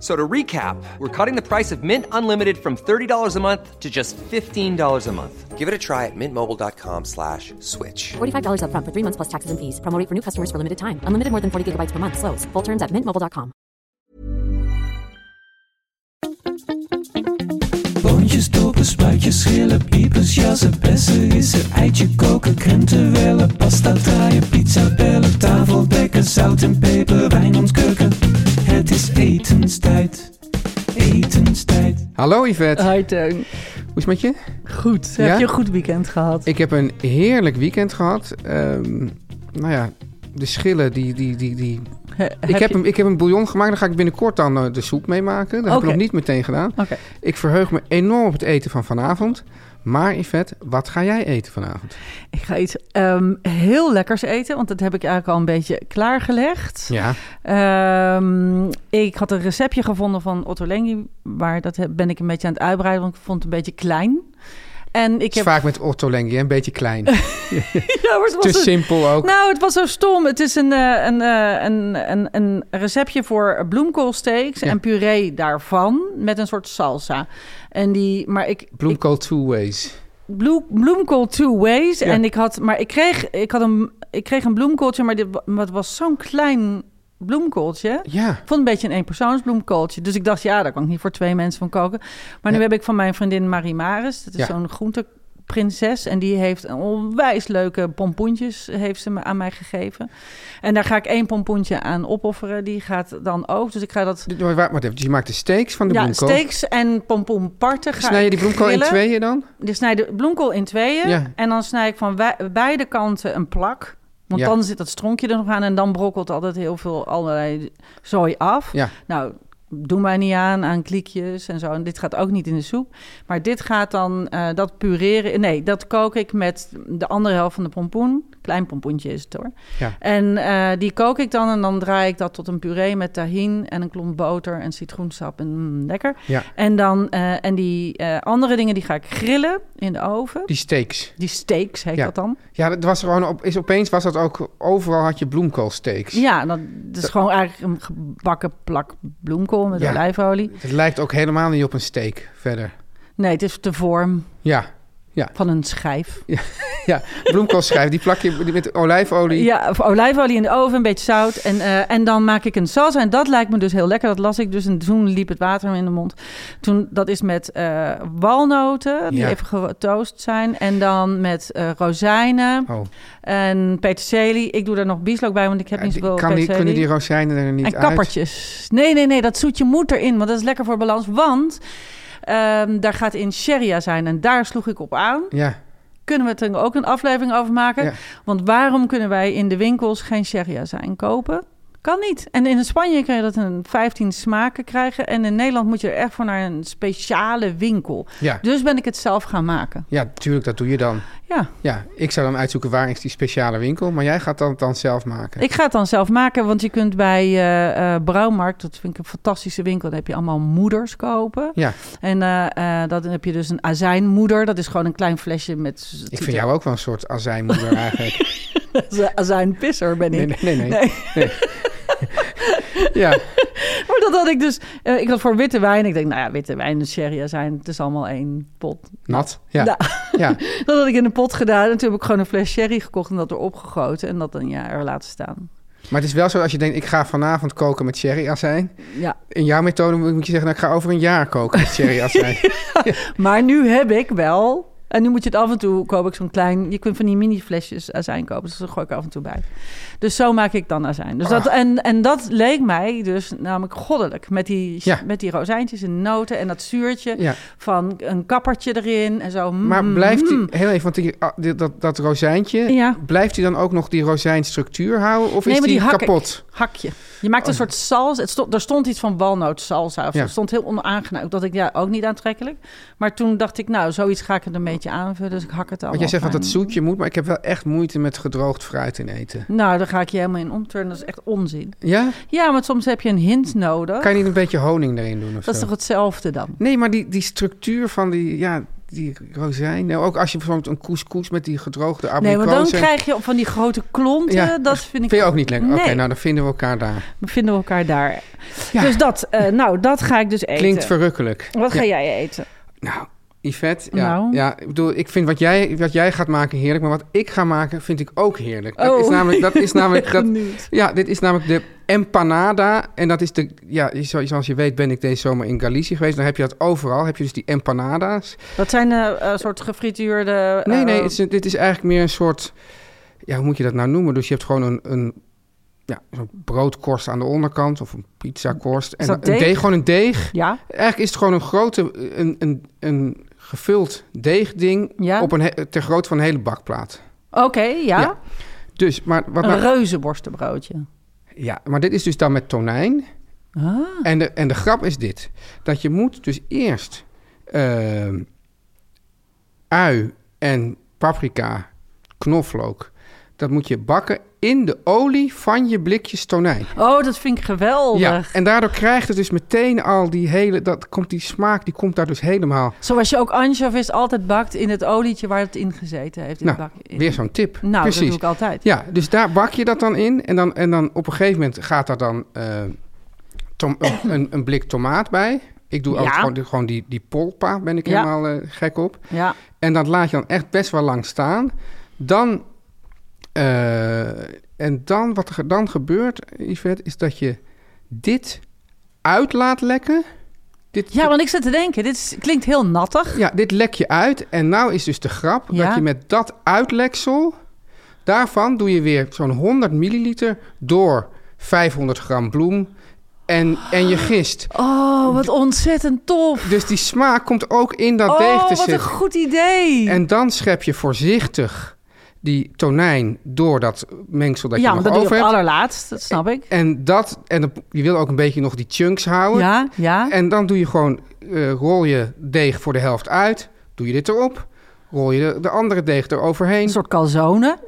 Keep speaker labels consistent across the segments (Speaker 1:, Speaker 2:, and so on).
Speaker 1: So to recap, we're cutting the price of Mint Unlimited from $30 a month to just $15 a month. Give it a try at mintmobile.com slash switch.
Speaker 2: $45 upfront for three months plus taxes and fees. Promo rate for new customers for limited time. Unlimited more than 40 gigabytes per month. Slows. Full terms at mintmobile.com.
Speaker 3: Boontjes, dopen, spuitjes, schillen, piepers, jassen, bessen, rissen, eitje koken, krenten wellen, pasta draaien, pizza bellen, tafel dekken, zout en peper, wijn ontkurken. Het is etenstijd, etenstijd.
Speaker 4: Hallo Yvette,
Speaker 5: Hi Teun.
Speaker 4: hoe is het met je?
Speaker 5: Goed.
Speaker 4: Ja?
Speaker 5: Heb je een goed weekend gehad?
Speaker 4: Ik heb een heerlijk weekend gehad. Ehm, nou ja, de schillen, die, die, die, die.
Speaker 5: He-
Speaker 4: Ik, heb
Speaker 5: je-
Speaker 4: Een, ik heb een bouillon gemaakt, daar ga ik binnenkort dan eh, de soep mee maken. Dat heb
Speaker 5: Oké.
Speaker 4: ik nog niet meteen gedaan.
Speaker 5: Oké.
Speaker 4: Ik verheug me enorm op het eten van vanavond. Maar Yvette, wat ga jij eten vanavond?
Speaker 5: Ik ga iets ehm, heel lekkers eten, want dat heb ik eigenlijk al een beetje klaargelegd.
Speaker 4: Ja,
Speaker 5: Ehm, ik had een receptje gevonden van Ottolenghi, maar dat heb- ben ik een beetje aan het uitbreiden, want ik vond het een beetje klein. En ik
Speaker 4: het is
Speaker 5: heb...
Speaker 4: vaak met ortolenghi, hè, een beetje klein.
Speaker 5: Ja, maar het was
Speaker 4: Te
Speaker 5: een-
Speaker 4: simpel ook.
Speaker 5: Nou, het was zo stom. Het is een, eh, een, eh, een, een, een receptje voor bloemkoolsteaks
Speaker 4: Ja.
Speaker 5: en puree daarvan met een soort salsa. En die, maar ik, ik
Speaker 4: Bloemkool two ways.
Speaker 5: bloe- bloemkool two ways.
Speaker 4: Ja.
Speaker 5: En ik had, maar ik kreeg, ik had een, ik kreeg een bloemkooltje, maar, dit, wa- maar het was zo'n klein bloemkooltje.
Speaker 4: Ja,
Speaker 5: Ik vond het een beetje een eenpersoonsbloemkooltje. Dus ik dacht, ja, daar kan ik niet voor twee mensen van koken. Maar
Speaker 4: Ja.
Speaker 5: nu heb ik van mijn vriendin Marie Maris. Dat is
Speaker 4: Ja.
Speaker 5: zo'n groenteprinses. En die heeft een onwijs leuke pompoentjes heeft ze me aan mij gegeven. En daar ga ik één pompoentje aan opofferen. Die gaat dan ook. Dus ik ga dat...
Speaker 4: Dit- maar wacht maar even. Dus je maakt de steaks van de
Speaker 5: Ja,
Speaker 4: bloemkool.
Speaker 5: steaks en pompoenparten ga
Speaker 4: Snij je die
Speaker 5: ik
Speaker 4: bloemkool in
Speaker 5: grillen.
Speaker 4: tweeën dan?
Speaker 5: Dus snij de bloemkool in tweeën.
Speaker 4: Ja.
Speaker 5: En dan snij ik van wij- beide kanten een plak. Want
Speaker 4: Ja.
Speaker 5: dan zit dat stronkje er nog aan en dan brokkelt altijd heel veel allerlei zooi af.
Speaker 4: Ja.
Speaker 5: Nou, doe mij niet aan, aan kliekjes en zo. En dit gaat ook niet in de soep. Maar dit gaat dan, eh, dat pureren... Nee, dat kook ik met de andere helft van de pompoen. Klein pompoentje is het hoor.
Speaker 4: Ja.
Speaker 5: En eh, die kook ik dan en dan draai ik dat tot een puree met tahin en een klomp boter en citroensap. En mm, lekker.
Speaker 4: Ja,
Speaker 5: En, dan, eh, en die eh, andere dingen die ga ik grillen in de oven.
Speaker 4: die steaks.
Speaker 5: Die steaks heet
Speaker 4: Ja.
Speaker 5: dat dan.
Speaker 4: Ja, dat was gewoon op, is opeens was dat ook overal had je bloemkoolsteaks.
Speaker 5: Ja, dat, dat is gewoon eigenlijk een gebakken plak bloemkool met
Speaker 4: Ja.
Speaker 5: olijfolie.
Speaker 4: Het lijkt ook helemaal niet op een steak verder.
Speaker 5: Nee, het is de vorm
Speaker 4: Ja,
Speaker 5: van een schijf.
Speaker 4: ja. bloemkoolschijf, die plak je met olijfolie.
Speaker 5: Ja, of olijfolie in de oven, een beetje zout. En, eh, en dan maak ik een salsa. En dat lijkt me dus heel lekker. Dat las ik dus. En toen liep het water me in de mond. Toen, dat is met eh, walnoten, die
Speaker 4: Ja.
Speaker 5: even getoast zijn. En dan met eh, rozijnen
Speaker 4: Oh,
Speaker 5: en peterselie. Ik doe daar nog bieslook bij, want ik heb
Speaker 4: ja,
Speaker 5: niet
Speaker 4: eh, die-
Speaker 5: zoveel
Speaker 4: kan die,
Speaker 5: peterselie.
Speaker 4: kunnen die rozijnen er niet
Speaker 5: En
Speaker 4: uit?
Speaker 5: kappertjes. Nee, nee, nee, dat zoetje moet erin, want dat is lekker voor balans. Want ehm, daar gaat in Sheria zijn en daar sloeg ik op aan.
Speaker 4: Ja,
Speaker 5: Kunnen we het er ook een aflevering over maken?
Speaker 4: Ja.
Speaker 5: Want waarom kunnen wij in de winkels geen Sheria zijn kopen? Kan niet. En in Spanje kun je dat in 15 smaken krijgen. En in Nederland moet je er echt voor naar een speciale winkel.
Speaker 4: ja.
Speaker 5: Dus ben ik het zelf gaan maken.
Speaker 4: ja, tuurlijk, dat doe je dan.
Speaker 5: Ja,
Speaker 4: Ja, ik zou dan uitzoeken waar is die speciale winkel, maar jij gaat dat dan zelf maken.
Speaker 5: ik ga het dan zelf maken, want je kunt bij eh, eh, Brouwmarkt, dat vind ik een fantastische winkel, daar heb je allemaal moeders kopen.
Speaker 4: Ja,
Speaker 5: En eh, eh, dan heb je dus een azijnmoeder. Dat is gewoon een klein flesje met...
Speaker 4: ik vind jou ook wel een soort azijnmoeder eigenlijk.
Speaker 5: Azijnpisser ben ik.
Speaker 4: Nee, nee, nee. nee.
Speaker 5: Nee.
Speaker 4: Nee. ja,
Speaker 5: Maar dat had ik dus... eh, ik had voor witte wijn. Ik denk, nou ja, witte wijn en sherry azijn. Het is allemaal één pot.
Speaker 4: nat. Ja,
Speaker 5: Nou,
Speaker 4: ja.
Speaker 5: dat had ik in een pot gedaan. En toen heb ik gewoon een fles sherry gekocht en dat erop gegoten. En dat een jaar er laten staan.
Speaker 4: Maar het is wel zo als je denkt, ik ga vanavond koken met sherryazijn.
Speaker 5: Ja.
Speaker 4: In jouw methode moet je zeggen, nou, ik ga over een jaar koken met sherryazijn.
Speaker 5: Mm. Maar nu heb ik wel... En nu moet je het af en toe koop ik zo'n klein... Je kunt van die mini flesjes azijn kopen. Dus dat gooi ik er af en toe bij. Dus zo maak ik dan azijn. Dus dat, en, en dat leek mij dus namelijk goddelijk. Met die,
Speaker 4: Ja.
Speaker 5: met die rozijntjes en noten en dat zuurtje
Speaker 4: ja.
Speaker 5: van een kappertje erin en zo.
Speaker 4: Maar
Speaker 5: Mm,
Speaker 4: blijft die,
Speaker 5: mm.
Speaker 4: heel even, want die, ah, die- dat, dat rozijntje,
Speaker 5: Ja.
Speaker 4: blijft die dan ook nog die rozijnstructuur houden? Of
Speaker 5: Nee,
Speaker 4: is
Speaker 5: maar
Speaker 4: die,
Speaker 5: die Oh, hak ik.
Speaker 4: kapot?
Speaker 5: Hakje. Je maakt een soort salsa. Het stond, er stond iets van walnootsalsa. Of zo.
Speaker 4: Oh. Ja.
Speaker 5: Het stond heel onaangenaam. Dat ik ja, ook niet aantrekkelijk. Maar toen dacht ik, nou, zoiets ga ik er een beetje aanvullen. Dus ik hak het al.
Speaker 4: Want jij zegt dat het zoetje moet, maar ik heb wel echt moeite met gedroogd fruit in eten.
Speaker 5: Nou, daar ga ik je helemaal in omturnen. Dat is echt onzin.
Speaker 4: Ja?
Speaker 5: Ja, want soms heb je een hint nodig.
Speaker 4: Kan je niet een beetje honing erin doen of
Speaker 5: dat is
Speaker 4: zo?
Speaker 5: toch hetzelfde dan?
Speaker 4: Nee, maar die, die structuur van die, ja, die rozijn. Nou, ook als je bijvoorbeeld een couscous met die gedroogde
Speaker 5: Nee,
Speaker 4: abrikozen...
Speaker 5: want dan krijg je van die grote klonten.
Speaker 4: Ja,
Speaker 5: dat vind ik
Speaker 4: Vind je ook niet lekker?
Speaker 5: Nee,
Speaker 4: Oké, nou dan vinden we elkaar daar.
Speaker 5: we vinden elkaar daar.
Speaker 4: Ja.
Speaker 5: Dus dat, eh, nou, dat ga ik dus eten.
Speaker 4: Klinkt verrukkelijk.
Speaker 5: Wat ga
Speaker 4: Ja.
Speaker 5: jij eten?
Speaker 4: Nou, Yvette, ja,
Speaker 5: Nou.
Speaker 4: ja, ik bedoel, ik vind wat jij, wat jij gaat maken heerlijk, maar wat ik ga maken vind ik ook heerlijk. Dat
Speaker 5: Oh.
Speaker 4: is namelijk, dat is namelijk, dat,
Speaker 5: Benieuwd.
Speaker 4: ja, dit is namelijk de empanada. En dat is de, ja, zo- zoals je weet ben ik deze zomer in Galicië geweest. Dan heb je dat overal, heb je dus die empanadas.
Speaker 5: Dat zijn een soort gefrituurde... eh,
Speaker 4: Nee, nee, het is een- dit is eigenlijk meer een soort... Ja, hoe moet je dat nou noemen? Dus je hebt gewoon een, een ja, zo'n broodkorst aan de onderkant of een pizzakorst. En
Speaker 5: dat
Speaker 4: dan een
Speaker 5: deeg?
Speaker 4: deeg, gewoon een deeg.
Speaker 5: Ja,
Speaker 4: Eigenlijk is het gewoon een grote, een, een, een gevuld deegding
Speaker 5: Ja.
Speaker 4: op een, he- ter grootte van een hele bakplaat.
Speaker 5: oké, ja.
Speaker 4: Ja, Dus, maar, wat
Speaker 5: Een
Speaker 4: nou-
Speaker 5: reuzenborstenbroodje.
Speaker 4: ja, maar dit is dus dan met tonijn.
Speaker 5: Ah,
Speaker 4: En de, en de grap is dit. Dat je moet dus eerst ehm, ui en paprika, knoflook... dat moet je bakken in de olie van je blikjes tonijn.
Speaker 5: Oh, dat vind ik
Speaker 4: Ja,
Speaker 5: geweldig.
Speaker 4: en daardoor krijgt het dus meteen al die hele... Dat komt die smaak, die komt daar dus helemaal...
Speaker 5: Zoals je ook anchovies altijd bakt in het olietje waar het in gezeten heeft. In
Speaker 4: Nou,
Speaker 5: het bak- in-
Speaker 4: Weer zo'n tip.
Speaker 5: Nou,
Speaker 4: Precies.
Speaker 5: dat doe ik altijd.
Speaker 4: Ja, dus daar bak je dat dan in. En dan, en dan op een gegeven moment gaat daar dan eh, tom- een, een, een blik tomaat bij. Ik doe
Speaker 5: Ja.
Speaker 4: altijd gewoon, die- gewoon die, die polpa, ben ik
Speaker 5: Ja.
Speaker 4: helemaal eh, gek op.
Speaker 5: Ja.
Speaker 4: En dat laat je dan echt best wel lang staan. Dan, eh, en dan, wat er dan gebeurt, Yvette, is dat je dit uit laat lekken. Dit,
Speaker 5: ja, want ik zit te denken, dit is- klinkt heel nattig.
Speaker 4: ja, dit lek je uit. En nou is dus de grap
Speaker 5: Ja.
Speaker 4: dat je met dat uitleksel... daarvan doe je weer zo'n 100 milliliter door 500 gram bloem. En, en je gist.
Speaker 5: Oh, wat ontzettend tof.
Speaker 4: Dus die smaak komt ook in dat deeg
Speaker 5: oh,
Speaker 4: te
Speaker 5: wat een
Speaker 4: zitten.
Speaker 5: goed idee.
Speaker 4: En dan schep je voorzichtig die tonijn door dat mengsel dat
Speaker 5: ja,
Speaker 4: je
Speaker 5: want
Speaker 4: nog
Speaker 5: dat doe
Speaker 4: over
Speaker 5: je op
Speaker 4: hebt.
Speaker 5: allerlaatst, dat snap ik.
Speaker 4: En, dat, en dan- je wil ook een beetje nog die chunks houden.
Speaker 5: Ja, ja.
Speaker 4: En dan doe je gewoon, eh, rol je deeg voor de helft uit. Doe je dit erop. Rol je de, de andere deeg
Speaker 5: Een
Speaker 4: eroverheen.
Speaker 5: soort calzone.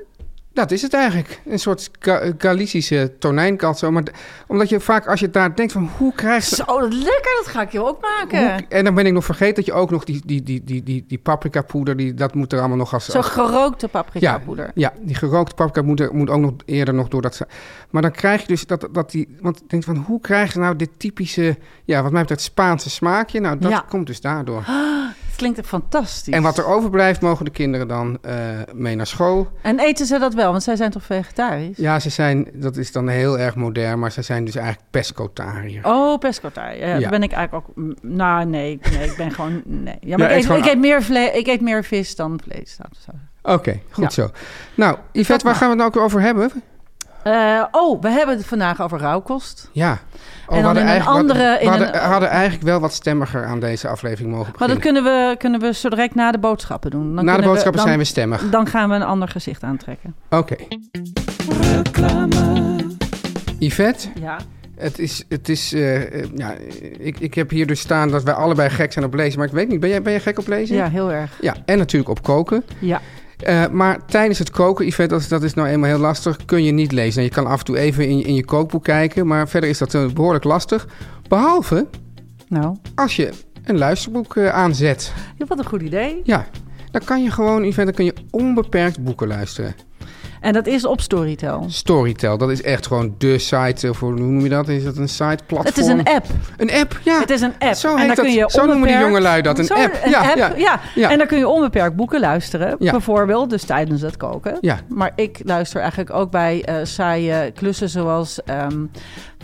Speaker 4: Dat is het eigenlijk. Een soort Ga Galicische tonijnkalzo. Maar d- omdat je vaak als je daar denkt van hoe krijg je...
Speaker 5: Zo, dat lekker, dat ga ik je ook maken.
Speaker 4: hoe- en dan ben ik nog vergeten dat je ook nog die, die, die, die, die, die paprika poeder, die, dat moet er allemaal nog als...
Speaker 5: Zo'n
Speaker 4: als-
Speaker 5: gerookte paprika poeder.
Speaker 4: ja, die gerookte paprika moet, er- moet ook nog eerder nog door dat... ze- Maar dan krijg je dus dat, dat die... Want ik denk van, hoe krijgen ze nou dit typische... Ja, wat mij betreft Spaanse smaakje? Nou, dat
Speaker 5: Ja.
Speaker 4: komt dus daardoor.
Speaker 5: Het klinkt echt fantastisch.
Speaker 4: En wat er overblijft, mogen de kinderen dan eh, mee naar school.
Speaker 5: En eten ze dat wel? Want zij zijn toch vegetarisch?
Speaker 4: Ja, ze zijn, dat is dan heel erg modern, maar ze zijn dus eigenlijk pescotariër.
Speaker 5: Oh, pescotariër. Ja,
Speaker 4: Ja.
Speaker 5: dat ben ik eigenlijk ook... mm, Nou, nee, ik- nee ik ben gewoon... Nee. Ja,
Speaker 4: Ja,
Speaker 5: maar ik,
Speaker 4: eet
Speaker 5: eet,
Speaker 4: gewoon-
Speaker 5: ik, eet meer vle- ik eet meer vis dan vlees. laten we zo zeggen.
Speaker 4: Oké, goed zo. Nou, Yvette, waar
Speaker 5: maar.
Speaker 4: gaan we het nou ook over hebben?
Speaker 5: Eh, oh, we hebben het vandaag over rauwkost.
Speaker 4: Ja. Oh,
Speaker 5: dan in een
Speaker 4: eigenlijk wat-
Speaker 5: andere- in
Speaker 4: we hadden,
Speaker 5: een-
Speaker 4: hadden eigenlijk wel wat stemmiger aan deze aflevering mogen
Speaker 5: Maar
Speaker 4: beginnen.
Speaker 5: dat kunnen we, kunnen we zo direct na de boodschappen doen. Dan
Speaker 4: Na de
Speaker 5: kunnen
Speaker 4: boodschappen
Speaker 5: dan,
Speaker 4: zijn we stemmig.
Speaker 5: Dan gaan we een ander gezicht aantrekken.
Speaker 4: Oké. Yvette,
Speaker 5: Ja.
Speaker 4: het is, het is eh, eh, ja, ik, ik heb hier dus staan dat wij allebei gek zijn op lezen, maar ik weet niet, ben jij, ben jij gek op lezen?
Speaker 5: Ja, heel erg.
Speaker 4: Ja, en natuurlijk op koken.
Speaker 5: Ja.
Speaker 4: Eh, maar tijdens het koken, Yvette, dat, is- dat is nou eenmaal heel lastig, kun je niet lezen. Nou, je kan af en toe even in, je- in je kookboek kijken, maar verder is dat eh, behoorlijk lastig. Behalve
Speaker 5: Nou,
Speaker 4: als je een luisterboek eh, aanzet.
Speaker 5: ja, wat een goed idee.
Speaker 4: Ja, dan kan je gewoon, Yvette, dan kun je onbeperkt boeken luisteren.
Speaker 5: En dat is op Storytel.
Speaker 4: Storytel, dat is echt gewoon de site. Of hoe noem je dat? Is dat een site, platform?
Speaker 5: Het is een app.
Speaker 4: Een app, ja.
Speaker 5: Het is een app.
Speaker 4: Zo
Speaker 5: en
Speaker 4: heet
Speaker 5: dan
Speaker 4: dat.
Speaker 5: kun je
Speaker 4: Zo noemen die
Speaker 5: onbeperkt-
Speaker 4: jongelui dat, een
Speaker 5: Zo,
Speaker 4: app. Ja, ja, ja.
Speaker 5: En dan kun je onbeperkt boeken luisteren.
Speaker 4: Ja.
Speaker 5: Bijvoorbeeld, dus tijdens het koken.
Speaker 4: Ja.
Speaker 5: Maar ik luister eigenlijk ook bij eh, saaie klussen zoals ehm,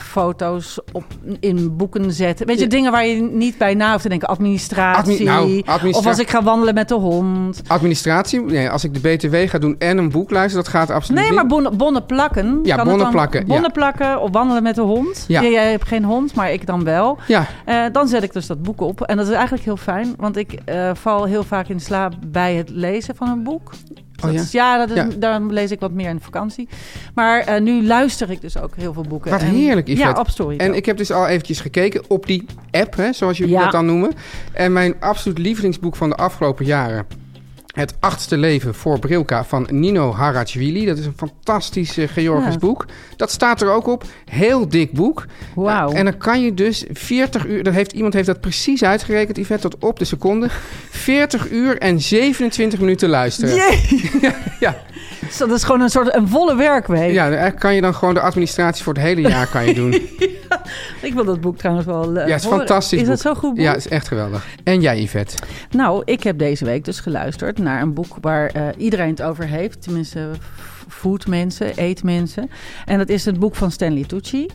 Speaker 5: foto's op, in boeken zetten. Weet je,
Speaker 4: Ja.
Speaker 5: dingen waar je niet bij na hoeft te denken. Administratie.
Speaker 4: Admi- nou, administra-
Speaker 5: Of als ik ga wandelen met de hond.
Speaker 4: Administratie, nee, als ik de BTW ga doen en een boek luisteren, dat gaat absoluut
Speaker 5: Nee,
Speaker 4: niet.
Speaker 5: maar bonnen, bonnen plakken.
Speaker 4: Ja,
Speaker 5: het
Speaker 4: bonnen
Speaker 5: dan?
Speaker 4: plakken, ja.
Speaker 5: Bonnen plakken of wandelen met de hond.
Speaker 4: Ja.
Speaker 5: Ja, jij hebt geen hond, maar ik dan wel.
Speaker 4: Ja,
Speaker 5: Eh, dan zet ik dus dat boek op. En dat is eigenlijk heel fijn, want ik eh, val heel vaak in slaap bij het lezen van een boek.
Speaker 4: Oh
Speaker 5: dat
Speaker 4: ja?
Speaker 5: Is, ja, dat is,
Speaker 4: Ja.
Speaker 5: daarom lees ik wat meer in de vakantie. Maar eh, nu luister ik dus ook heel veel boeken.
Speaker 4: Wat
Speaker 5: En-
Speaker 4: heerlijk, Yvette.
Speaker 5: Ja, op story.
Speaker 4: en ik heb dus al eventjes gekeken op die app, hè, zoals jullie
Speaker 5: Ja.
Speaker 4: dat dan noemen. En mijn absoluut lievelingsboek van de afgelopen jaren... Het achtste leven voor Brilka van Nino Harachvili. Dat is een fantastisch eh, Georgisch
Speaker 5: Ja.
Speaker 4: boek. Dat staat er ook op. Heel dik boek.
Speaker 5: Wauw.
Speaker 4: En dan kan je dus 40 uur... Dat heeft, iemand heeft dat precies uitgerekend, Yvette, tot op de seconde. 40 uur en 27 minuten luisteren.
Speaker 5: Jee!
Speaker 4: Ja.
Speaker 5: Dus dat is gewoon een soort een volle werkweek.
Speaker 4: Ja, eigenlijk kan je dan gewoon de administratie voor het hele jaar kan je doen.
Speaker 5: Ik wil dat boek trouwens wel eh,
Speaker 4: ja, het is
Speaker 5: horen.
Speaker 4: fantastisch.
Speaker 5: Is dat
Speaker 4: boek.
Speaker 5: zo goed boek?
Speaker 4: Ja, het is echt geweldig. En jij, Yvette?
Speaker 5: Nou, ik heb deze week dus geluisterd naar een boek waar eh, iedereen het over heeft. Tenminste, f- foodmensen, eetmensen. En dat is het boek van Stanley Tucci.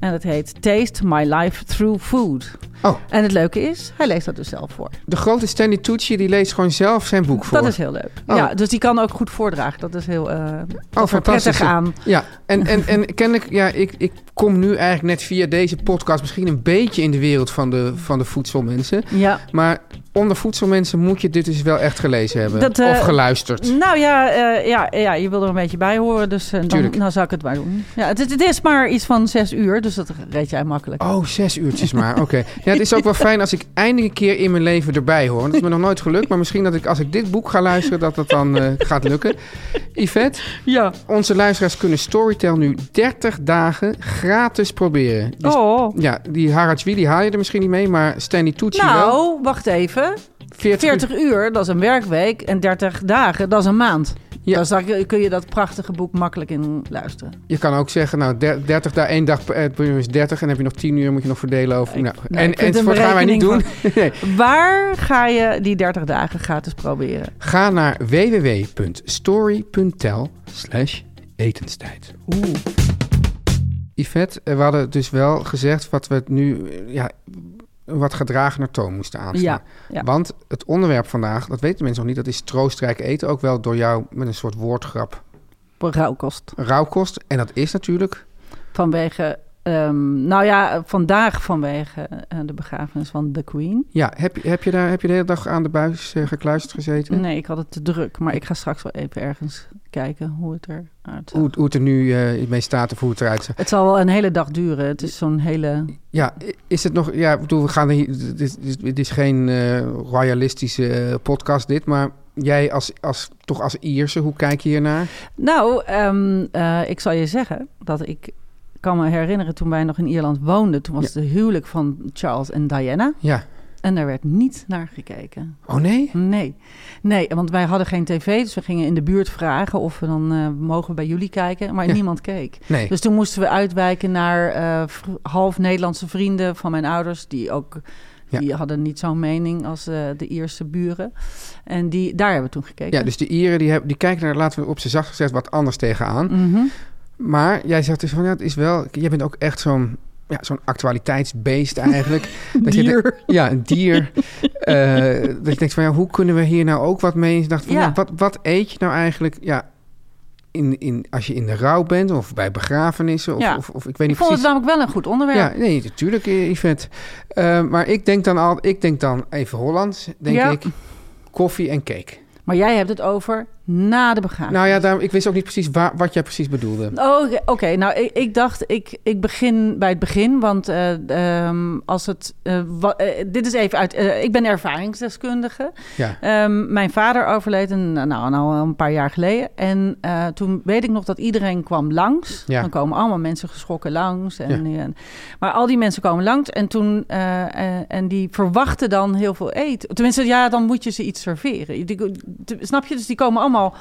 Speaker 5: En dat heet Taste My Life Through Food.
Speaker 4: Oh,
Speaker 5: En het leuke is, hij leest dat dus zelf voor.
Speaker 4: de grote Stanley Tucci die leest gewoon zelf zijn boek voor.
Speaker 5: Dat is heel leuk.
Speaker 4: Oh.
Speaker 5: Ja, dus die kan ook goed voordragen. Dat is heel eh dat is er
Speaker 4: fantastisch.
Speaker 5: prettig aan.
Speaker 4: Ja, en, en, en kennelijk, ja, ik, ik kom nu eigenlijk net via deze podcast misschien een beetje in de wereld van de, van de voedselmensen.
Speaker 5: Ja.
Speaker 4: Maar onder voedselmensen moet je dit dus wel echt gelezen hebben.
Speaker 5: Dat, eh,
Speaker 4: of geluisterd.
Speaker 5: Nou ja, eh, ja, ja, je wil er een beetje bij horen, dus eh, dan,
Speaker 4: Tuurlijk.
Speaker 5: nou zou ik het maar doen. Ja, het, is- het is maar iets van zes uur, dus dat reed jij makkelijk.
Speaker 4: Oh, zes uurtjes maar. Oké. Ja, het is ook wel fijn als ik eindelijk een keer in mijn leven erbij hoor. Dat is me nog nooit gelukt. Maar misschien dat ik als ik dit boek ga luisteren, dat dat dan eh, gaat lukken. Yvette,
Speaker 5: Ja.
Speaker 4: onze luisteraars kunnen Storytel nu 30 dagen gratis proberen. Dus,
Speaker 5: Oh.
Speaker 4: Ja, die Harachwili haal je er misschien niet mee, maar Stanley Tucci wel.
Speaker 5: Nou, wacht even.
Speaker 4: 40 uur.
Speaker 5: 40 uur, dat is een werkweek. En 30 dagen, dat is een maand.
Speaker 4: Ja.
Speaker 5: Dus daar kun je dat prachtige boek makkelijk in luisteren.
Speaker 4: Je kan ook zeggen, nou, der- 30 daar één dag per eh, per uur is 30 en heb je nog 10 uur, moet je nog verdelen over.
Speaker 5: Ik-
Speaker 4: nou,
Speaker 5: nee,
Speaker 4: en
Speaker 5: ik vind
Speaker 4: en
Speaker 5: een
Speaker 4: dat gaan wij niet doen.
Speaker 5: berekening Waar ga je die 30 dagen gratis proberen?
Speaker 4: Ga naar www.story.tel slash etenstijd.
Speaker 5: Oeh.
Speaker 4: Yvette, eh, we hadden dus wel gezegd wat we het nu eh, ja, wat gedragen naar toon moesten aanslaan.
Speaker 5: Ja, ja.
Speaker 4: Want het onderwerp vandaag, dat weten mensen nog niet, dat is troostrijk eten. Ook wel door jou met een soort woordgrap
Speaker 5: Rauwkost.
Speaker 4: rauwkost. En dat is natuurlijk...
Speaker 5: Vanwege, ehm, nou ja, vandaag vanwege eh, de begrafenis van The Queen.
Speaker 4: Ja, heb, je- heb, je, daar, heb je de hele dag aan de buis eh, gekluisterd gezeten?
Speaker 5: Nee, ik had het te druk. Maar ik ga straks wel even ergens kijken hoe het eruit
Speaker 4: Hoe,
Speaker 5: ziet.
Speaker 4: het- hoe het er nu eh, mee staat of hoe het eruit ziet.
Speaker 5: Het zal wel een hele dag duren. Het is zo'n hele...
Speaker 4: Ja, i- is het nog... Ja, ik bedoel, we gaan hier... Dit, dit- dit is geen eh, royalistische eh, podcast dit, maar... Jij als, als, toch als Ierse, hoe kijk je hiernaar?
Speaker 5: Nou, ehm, eh, ik zal je zeggen dat ik kan me herinneren toen wij nog in Ierland woonden. Toen was het de huwelijk van Charles en Diana.
Speaker 4: Ja.
Speaker 5: En daar werd niet naar gekeken.
Speaker 4: Oh nee?
Speaker 5: Nee. Nee, want wij hadden geen tv. Dus we gingen in de buurt vragen of we dan eh, mogen we bij jullie kijken. Maar
Speaker 4: Ja.
Speaker 5: niemand keek.
Speaker 4: Nee.
Speaker 5: Dus toen moesten we uitwijken naar eh, v- half Nederlandse vrienden van mijn ouders. Die ook.
Speaker 4: Ja.
Speaker 5: Die hadden niet zo'n mening als eh, de Ierse buren. En die, daar hebben we toen gekeken.
Speaker 4: Ja, dus de Ieren die, hebben, die kijken er, laten we op zijn zacht gezegd, wat anders tegenaan.
Speaker 5: Mhm.
Speaker 4: Maar jij zegt dus van, ja, het is wel... Jij bent ook echt zo'n ja, zo'n actualiteitsbeest eigenlijk. dat je
Speaker 5: Dier.
Speaker 4: denkt- ja, een dier. Eh, dat je denkt van, ja, hoe kunnen we hier nou ook wat mee? Ik dacht van,
Speaker 5: Ja.
Speaker 4: ja, wat, wat eet je nou eigenlijk? Ja, in, in, als je in de rouw bent of bij begrafenissen of,
Speaker 5: Ja.
Speaker 4: of, of ik weet
Speaker 5: Ik
Speaker 4: niet
Speaker 5: vond het
Speaker 4: precies...
Speaker 5: namelijk wel een goed onderwerp.
Speaker 4: Ja, nee, natuurlijk, eh, Yvette. Eh, maar ik denk dan al, ik denk dan even Hollands, denk
Speaker 5: Ja. Nou,
Speaker 4: ik, koffie en cake.
Speaker 5: Maar jij hebt het over na de begrafenis.
Speaker 4: Nou ja, daarom, ik wist ook niet precies waar, wat jij precies bedoelde.
Speaker 5: Oh, Oké, oké. nou ik, ik dacht, ik, ik begin bij het begin. Want eh, ehm, als het. eh, wa- eh, dit is even uit. eh, ik ben ervaringsdeskundige.
Speaker 4: Ja.
Speaker 5: Ehm, mijn vader overleed een, nou, nou, een paar jaar geleden. En eh, toen weet ik nog dat iedereen kwam langs.
Speaker 4: Ja.
Speaker 5: Dan komen allemaal mensen geschrokken langs. En, en- maar al die mensen komen langs. En, toen, eh, eh, en die verwachten dan heel veel eten. Tenminste, ja, dan moet je ze iets serveren. Die- die- snap je? Dus die komen allemaal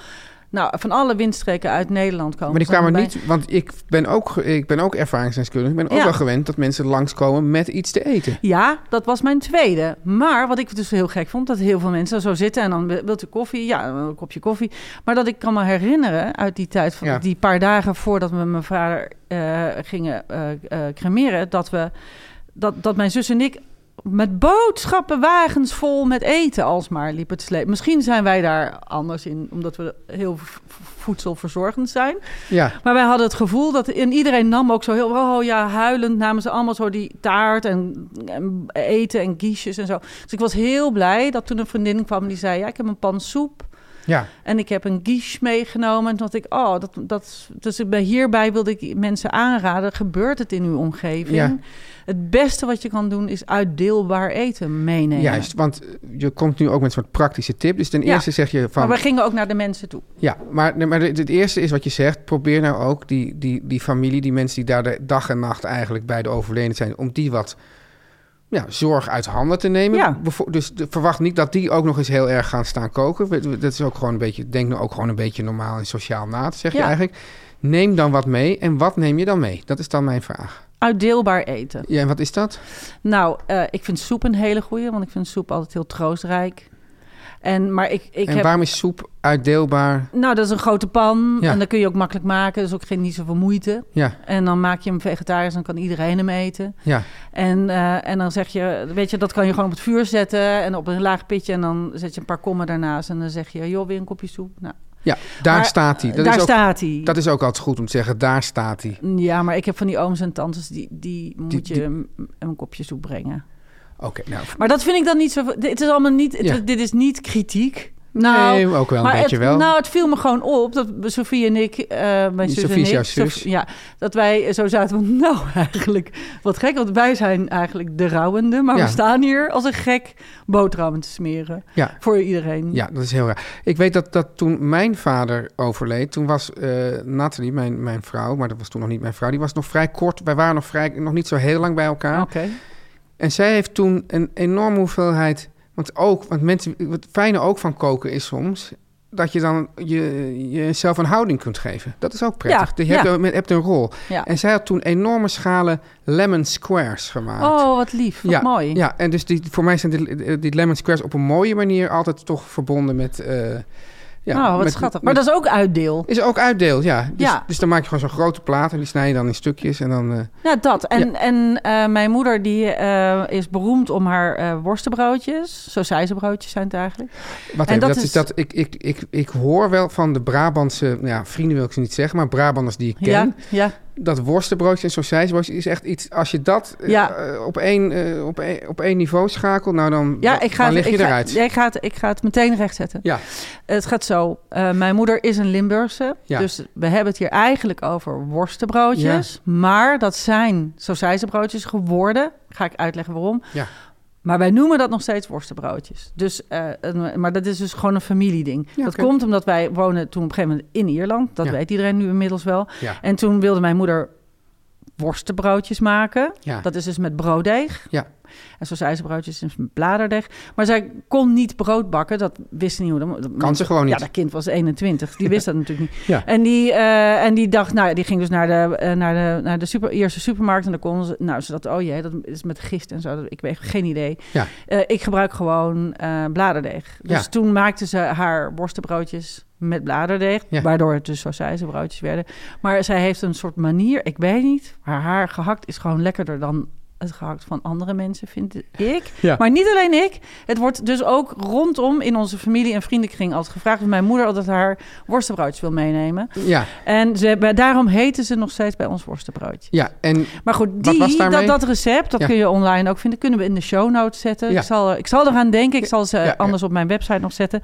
Speaker 5: Nou, van alle windstreken uit Nederland komen.
Speaker 4: Maar die
Speaker 5: ze dan
Speaker 4: kwamen
Speaker 5: bij.
Speaker 4: niet, want ik ben ook, ge- ik ben ook ervaringsdeskundige. Ik ben ook
Speaker 5: Ja.
Speaker 4: wel gewend dat mensen langskomen met iets te eten.
Speaker 5: Ja, dat was mijn tweede. Maar wat ik dus heel gek vond, dat heel veel mensen zo zitten en dan wilt u koffie? Ja, een kopje koffie. Maar dat ik kan me herinneren uit die tijd, van
Speaker 4: Ja.
Speaker 5: die paar dagen voordat we mijn vader eh, gingen eh eh, cremeren, dat, we, dat, dat mijn zus en ik met boodschappen wagens vol met eten alsmaar liepen te slepen. Misschien zijn wij daar anders in, omdat we heel v- voedselverzorgend zijn.
Speaker 4: Ja,
Speaker 5: Maar wij hadden het gevoel dat en iedereen nam ook zo heel oh ja, huilend namen ze allemaal zo die taart en, en eten en kiesjes en zo. Dus ik was heel blij dat toen een vriendin kwam die zei: "Ja, ik heb een pan soep
Speaker 4: ja.
Speaker 5: en ik heb een quiche meegenomen." En toen dacht ik: "Oh, dat dat dus ik ben hierbij wilde ik mensen aanraden, gebeurt het in uw omgeving?
Speaker 4: Ja.
Speaker 5: Het beste wat je kan doen is uitdeelbaar eten meenemen."
Speaker 4: Juist, want je komt nu ook met een soort praktische tip. Dus ten
Speaker 5: Ja.
Speaker 4: eerste zeg je van...
Speaker 5: Maar we gingen ook naar de mensen toe.
Speaker 4: Ja, maar, nee, maar het het eerste is wat je zegt. Probeer nou ook die, die, die familie, die mensen die daar de dag en nacht eigenlijk bij de overleden zijn... om die wat ja, zorg uit handen te nemen.
Speaker 5: Ja.
Speaker 4: Bevo- Dus de- verwacht niet dat die ook nog eens heel erg gaan staan koken. We- we- Dat is ook gewoon een beetje... Denk nou ook gewoon een beetje normaal en sociaal na, dat zeg je
Speaker 5: Ja.
Speaker 4: eigenlijk. Neem dan wat mee. En wat neem je dan mee? Dat is dan mijn vraag.
Speaker 5: Uitdeelbaar eten.
Speaker 4: Ja, en wat is dat?
Speaker 5: Nou, eh, ik vind soep een hele goeie, want ik vind soep altijd heel troostrijk. En, maar ik, ik
Speaker 4: en
Speaker 5: heb...
Speaker 4: waarom is soep uitdeelbaar?
Speaker 5: Nou, dat is een grote pan
Speaker 4: Ja.
Speaker 5: en dat kun je ook makkelijk maken. Dus ook geen niet zoveel moeite.
Speaker 4: Ja,
Speaker 5: En dan maak je hem vegetarisch en dan kan iedereen hem eten.
Speaker 4: ja.
Speaker 5: En, eh, en dan zeg je, weet je, dat kan je gewoon op het vuur zetten en op een laag pitje. En dan zet je een paar kommen daarnaast en dan zeg je, joh, weer een kopje soep. Nou,
Speaker 4: ja daar
Speaker 5: maar,
Speaker 4: staat hij.
Speaker 5: eh,
Speaker 4: Dat,
Speaker 5: Daar
Speaker 4: is ook-
Speaker 5: staat hij.
Speaker 4: dat is ook altijd goed om te zeggen. Daar staat hij.
Speaker 5: Ja, maar ik heb van die ooms en tantes, die, die moet je
Speaker 4: die-
Speaker 5: hem een kopje soep brengen.
Speaker 4: Oké, nou...
Speaker 5: Maar dat vind ik dan niet zo. Dit is allemaal niet. het-
Speaker 4: Ja.
Speaker 5: Dit is niet kritiek. Nou,
Speaker 4: nee, ook wel een
Speaker 5: maar
Speaker 4: beetje
Speaker 5: het,
Speaker 4: wel.
Speaker 5: Nou, het viel me gewoon op dat Sofie en ik, eh mijn zus
Speaker 4: Sophie
Speaker 5: en
Speaker 4: is
Speaker 5: ik,
Speaker 4: jouw zus.
Speaker 5: Sof- ja, dat wij zo zaten van, nou eigenlijk, wat gek, want wij zijn eigenlijk de rouwende, maar
Speaker 4: Ja.
Speaker 5: we staan hier als een gek boterhammen te smeren
Speaker 4: Ja.
Speaker 5: voor iedereen.
Speaker 4: Ja, dat is heel raar. Ik weet dat, dat toen mijn vader overleed, toen was eh Nathalie, mijn, mijn vrouw, maar dat was toen nog niet mijn vrouw, die was nog vrij kort. Wij waren nog, vrij, nog niet zo heel lang bij elkaar.
Speaker 5: Oké.
Speaker 4: En zij heeft toen een enorme hoeveelheid. Want ook, want mensen, wat fijne ook van koken is soms. Dat je dan je, jezelf een houding kunt geven. Dat is ook prettig.
Speaker 5: Ja,
Speaker 4: je hebt,
Speaker 5: ja.
Speaker 4: een- je hebt een rol.
Speaker 5: Ja.
Speaker 4: En zij had toen enorme schalen lemon squares gemaakt.
Speaker 5: Oh, wat lief, wat
Speaker 4: ja,
Speaker 5: mooi.
Speaker 4: Ja, en dus die, voor mij zijn die, die lemon squares op een mooie manier altijd toch verbonden met... eh, ja,
Speaker 5: nou, wat
Speaker 4: met-
Speaker 5: schattig.
Speaker 4: met-
Speaker 5: Maar dat is ook uitdeel.
Speaker 4: is ook uitdeel, ja. Dus,
Speaker 5: Ja.
Speaker 4: dus dan maak je gewoon zo'n grote plaat en die snij je dan in stukjes en dan... eh,
Speaker 5: Ja, dat. En, en eh, mijn moeder die eh, is beroemd om haar eh, worstenbroodjes. Zo broodjes zijn het eigenlijk.
Speaker 4: Wat
Speaker 5: En
Speaker 4: even, dat,
Speaker 5: dat
Speaker 4: is,
Speaker 5: is-
Speaker 4: dat ik, ik, ik, ik hoor wel van de Brabantse, nou ja, vrienden wil ik ze niet zeggen, maar Brabanders die ik ken,
Speaker 5: Ja, ja.
Speaker 4: dat worstenbroodjes en sausijsbroodjes is echt iets. Als je dat eh,
Speaker 5: Ja.
Speaker 4: eh, op, één, eh, op, één, op één niveau schakelt, nou dan,
Speaker 5: Ja,
Speaker 4: dan-
Speaker 5: ik ga,
Speaker 4: dan lig
Speaker 5: het,
Speaker 4: je
Speaker 5: ik, ga,
Speaker 4: eruit.
Speaker 5: ja, ik, ga het, ik ga het meteen rechtzetten.
Speaker 4: Ja.
Speaker 5: Het gaat zo. eh, mijn moeder is een Limburgse.
Speaker 4: Ja.
Speaker 5: Dus we hebben het hier eigenlijk over worstenbroodjes. Maar dat zijn sausijzenbroodjes geworden. Ga ik uitleggen waarom.
Speaker 4: Ja.
Speaker 5: Maar wij noemen dat nog steeds worstenbroodjes. Dus, eh, een- maar dat is dus gewoon een familieding.
Speaker 4: Ja,
Speaker 5: dat
Speaker 4: oké.
Speaker 5: komt omdat wij wonen toen op een gegeven moment in Ierland. Dat
Speaker 4: Ja.
Speaker 5: weet iedereen nu inmiddels wel.
Speaker 4: Ja.
Speaker 5: En toen wilde mijn moeder worstenbroodjes maken.
Speaker 4: Ja.
Speaker 5: Dat is dus met brooddeeg.
Speaker 4: Ja.
Speaker 5: En sausijzenbroodjes is met bladerdeeg. Maar zij kon niet brood bakken. Dat wist ze niet hoe. dat- Dat
Speaker 4: Kan ze gewoon niet.
Speaker 5: Ja, dat kind was 21. Die wist dat natuurlijk niet.
Speaker 4: Ja.
Speaker 5: En, die, eh, en die dacht, nou, die ging dus naar de, eh, naar de, naar de super, eerste supermarkt. En dan kon ze, nou, ze dacht, oh jee, dat is met gist en zo. Dat- Ik weet geen idee.
Speaker 4: Ja.
Speaker 5: Eh, ik gebruik gewoon eh, bladerdeeg. Dus
Speaker 4: Ja.
Speaker 5: toen maakte ze haar worstenbroodjes met bladerdeeg.
Speaker 4: Ja.
Speaker 5: Waardoor het dus sausijzenbroodjes werden. Maar zij heeft een soort manier, ik weet niet. Maar haar gehakt is gewoon lekkerder dan het gehakt van andere mensen, vind ik.
Speaker 4: Ja.
Speaker 5: Maar niet alleen ik. Het wordt dus ook rondom in onze familie en vriendenkring altijd gevraagd. of Mijn moeder altijd haar worstenbroodjes wil meenemen.
Speaker 4: ja,
Speaker 5: En ze, hebben- daarom heten ze nog steeds bij ons worstenbroodje.
Speaker 4: ja, en
Speaker 5: Maar goed,
Speaker 4: Wat was
Speaker 5: die,
Speaker 4: daarmee?
Speaker 5: dat, dat recept, dat
Speaker 4: Ja.
Speaker 5: kun je online ook vinden. Kunnen we in de show notes zetten.
Speaker 4: Ja.
Speaker 5: Ik, zal, ik zal eraan denken. Ik zal ze
Speaker 4: ja.
Speaker 5: anders op mijn website nog zetten.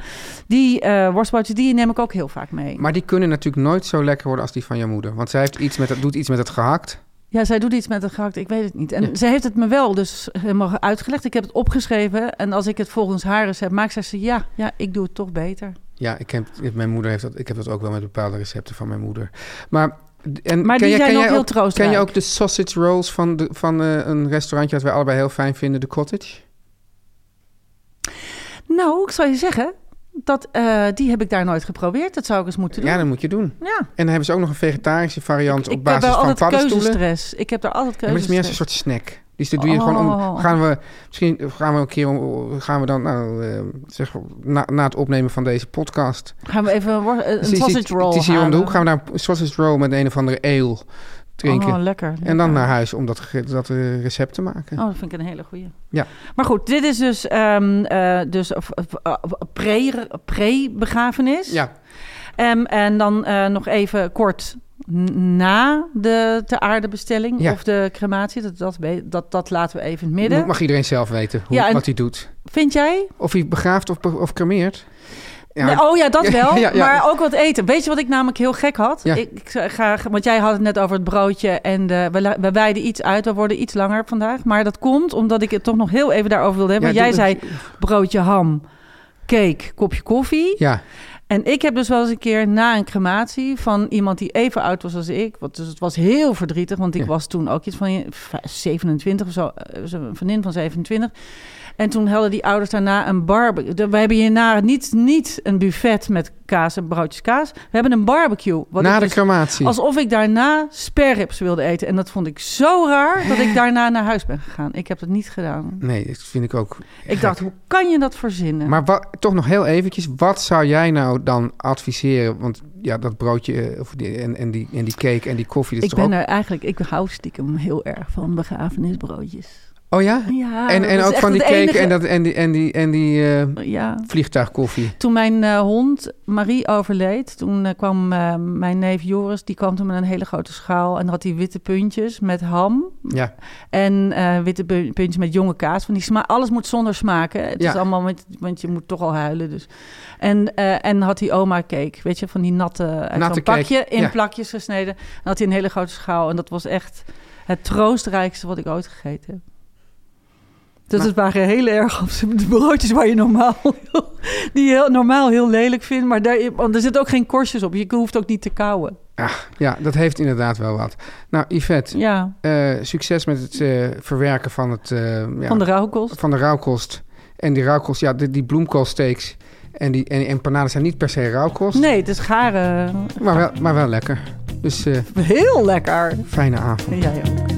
Speaker 5: Die eh worstbroodjes, die neem ik ook heel vaak mee.
Speaker 4: maar die kunnen natuurlijk nooit zo lekker worden als die van je moeder. Want zij heeft iets met, het- doet iets met het gehakt.
Speaker 5: Ja, zij doet iets met het gehakt, ik weet het niet. En
Speaker 4: Ja.
Speaker 5: zij heeft het me wel dus helemaal uitgelegd. Ik heb het opgeschreven. En als ik het volgens haar recept maak, zegt ze... ja, ja ik doe het toch beter.
Speaker 4: Ja, ik heb, mijn moeder heeft dat, ik heb dat ook wel met bepaalde recepten van mijn moeder. Maar, en
Speaker 5: Maar
Speaker 4: ken jij-
Speaker 5: die zijn
Speaker 4: ken
Speaker 5: ook
Speaker 4: jij
Speaker 5: heel
Speaker 4: Ken
Speaker 5: troostrijk.
Speaker 4: je ook de sausage rolls van, de, van eh, een restaurantje dat wij allebei heel fijn vinden, de Cottage?
Speaker 5: Nou, ik zal je zeggen... dat, eh, die heb ik daar nooit geprobeerd. Dat zou ik eens moeten doen.
Speaker 4: Ja, dat moet je doen.
Speaker 5: Ja.
Speaker 4: En dan hebben ze ook nog een vegetarische variant op
Speaker 5: Ik heb
Speaker 4: basis
Speaker 5: wel
Speaker 4: van
Speaker 5: altijd
Speaker 4: paddenstoelen. Maar
Speaker 5: keuzestress. Ik heb daar altijd
Speaker 4: het is meer als
Speaker 5: keuzestress.
Speaker 4: een soort snack. Dus dat doe je gewoon om.
Speaker 5: Oh.
Speaker 4: Gaan we, misschien gaan we een keer om, gaan we dan, nou, eh, zeg, na, na het opnemen van deze podcast.
Speaker 5: Gaan we even een, wor- een
Speaker 4: Het is-
Speaker 5: sausage roll
Speaker 4: Het is hier om de
Speaker 5: halen.
Speaker 4: hoek. Gaan we daar een sausage roll met een of andere ale drinken.
Speaker 5: Oh, lekker.
Speaker 4: en dan
Speaker 5: lekker.
Speaker 4: naar huis om dat, ge- dat eh, recept te maken.
Speaker 5: Oh, dat vind ik een hele goeie.
Speaker 4: Ja.
Speaker 5: Maar goed, dit is dus, ehm, eh, dus of- of- eh, pre- pre-begrafenis.
Speaker 4: Ja,
Speaker 5: Ehm, en dan eh, nog even kort n- na de ter aarde bestelling
Speaker 4: Ja.
Speaker 5: of de crematie. Dat, dat, be- dat, dat laten we even in het midden.
Speaker 4: mag iedereen zelf weten hoe,
Speaker 5: Ja, en-
Speaker 4: wat hij doet.
Speaker 5: Vind jij?
Speaker 4: Of hij begraaft of, be- of cremeert. Ja,
Speaker 5: Nee, oh ja, dat
Speaker 4: Ja,
Speaker 5: wel.
Speaker 4: ja, ja.
Speaker 5: Maar ook wat eten. Weet je wat ik namelijk heel gek had?
Speaker 4: Ja.
Speaker 5: Ik, ik ga, want jij had het net over het broodje en de, we, la- we wijden iets uit. We worden iets langer vandaag. Maar dat komt omdat ik het toch nog heel even daarover wilde hebben.
Speaker 4: Ja,
Speaker 5: want
Speaker 4: doe-
Speaker 5: jij zei broodje ham, cake, kopje koffie.
Speaker 4: ja.
Speaker 5: En ik heb dus wel eens een keer na een crematie van iemand die even oud was als ik. Want dus het was heel verdrietig, want ik
Speaker 4: Ja.
Speaker 5: was toen ook iets van v- 27 of zo. eh, zo, Een vriendin van 27. En toen hadden die ouders daarna een barbecue. We hebben hierna niet, niet een buffet met kaas en broodjes kaas. We hebben een barbecue. Wat
Speaker 4: na
Speaker 5: ik
Speaker 4: de
Speaker 5: dus-
Speaker 4: crematie.
Speaker 5: Alsof ik daarna sperrips wilde eten. En dat vond ik zo raar dat ik daarna naar huis ben gegaan. Ik heb dat niet gedaan.
Speaker 4: Nee, dat vind ik ook.
Speaker 5: Ik dacht, hoe kan je dat verzinnen?
Speaker 4: Maar wa- toch nog heel eventjes, wat zou jij nou dan adviseren? Want ja, dat broodje eh, of die, en, en, die, en die cake en die koffie, dat is
Speaker 5: ik
Speaker 4: toch
Speaker 5: ben
Speaker 4: ook...
Speaker 5: er eigenlijk, ik hou stiekem heel erg van begrafenisbroodjes.
Speaker 4: Oh ja?
Speaker 5: Ja,
Speaker 4: en
Speaker 5: dat
Speaker 4: en
Speaker 5: is
Speaker 4: ook
Speaker 5: echt
Speaker 4: van die
Speaker 5: het
Speaker 4: cake
Speaker 5: enige-
Speaker 4: en, dat, en die, en die, en die eh,
Speaker 5: Ja.
Speaker 4: vliegtuigkoffie.
Speaker 5: Toen mijn eh, hond Marie overleed, toen eh, kwam eh, mijn neef Joris, die kwam toen met een hele grote schaal en had hij witte puntjes met ham
Speaker 4: Ja,
Speaker 5: en eh, witte pu- puntjes met jonge kaas. Van die sma alles moet zonder smaken. hè. Het
Speaker 4: Ja.
Speaker 5: is allemaal met, want je moet toch al huilen dus. En, eh, en had hij oma cake, weet je, van die natte, uit
Speaker 4: Natte
Speaker 5: zo'n
Speaker 4: cake,
Speaker 5: pakje in
Speaker 4: ja.
Speaker 5: plakjes gesneden. En had hij een hele grote schaal en dat was echt het troostrijkste wat ik ooit gegeten heb. Dus
Speaker 4: Maar-
Speaker 5: het waren heel erg op z'n- de broodjes waar je normaal heel, die je heel, normaal heel lelijk vindt. Maar daar, want er zitten ook geen korstjes op. Je hoeft ook niet te kauwen.
Speaker 4: Ah, ja, dat heeft inderdaad wel wat. Nou, Yvette,
Speaker 5: Ja,
Speaker 4: eh, succes met het eh, verwerken van, het, eh, ja,
Speaker 5: van de rauwkost.
Speaker 4: van de rauwkost. En die rauwkost, ja, die, die bloemkoolsteaks en die en, en panaden zijn niet per se rauwkost,
Speaker 5: Nee, het is garen.
Speaker 4: maar, wel, maar wel lekker. Dus eh,
Speaker 5: Heel lekker.
Speaker 4: fijne avond.
Speaker 5: Jij ook.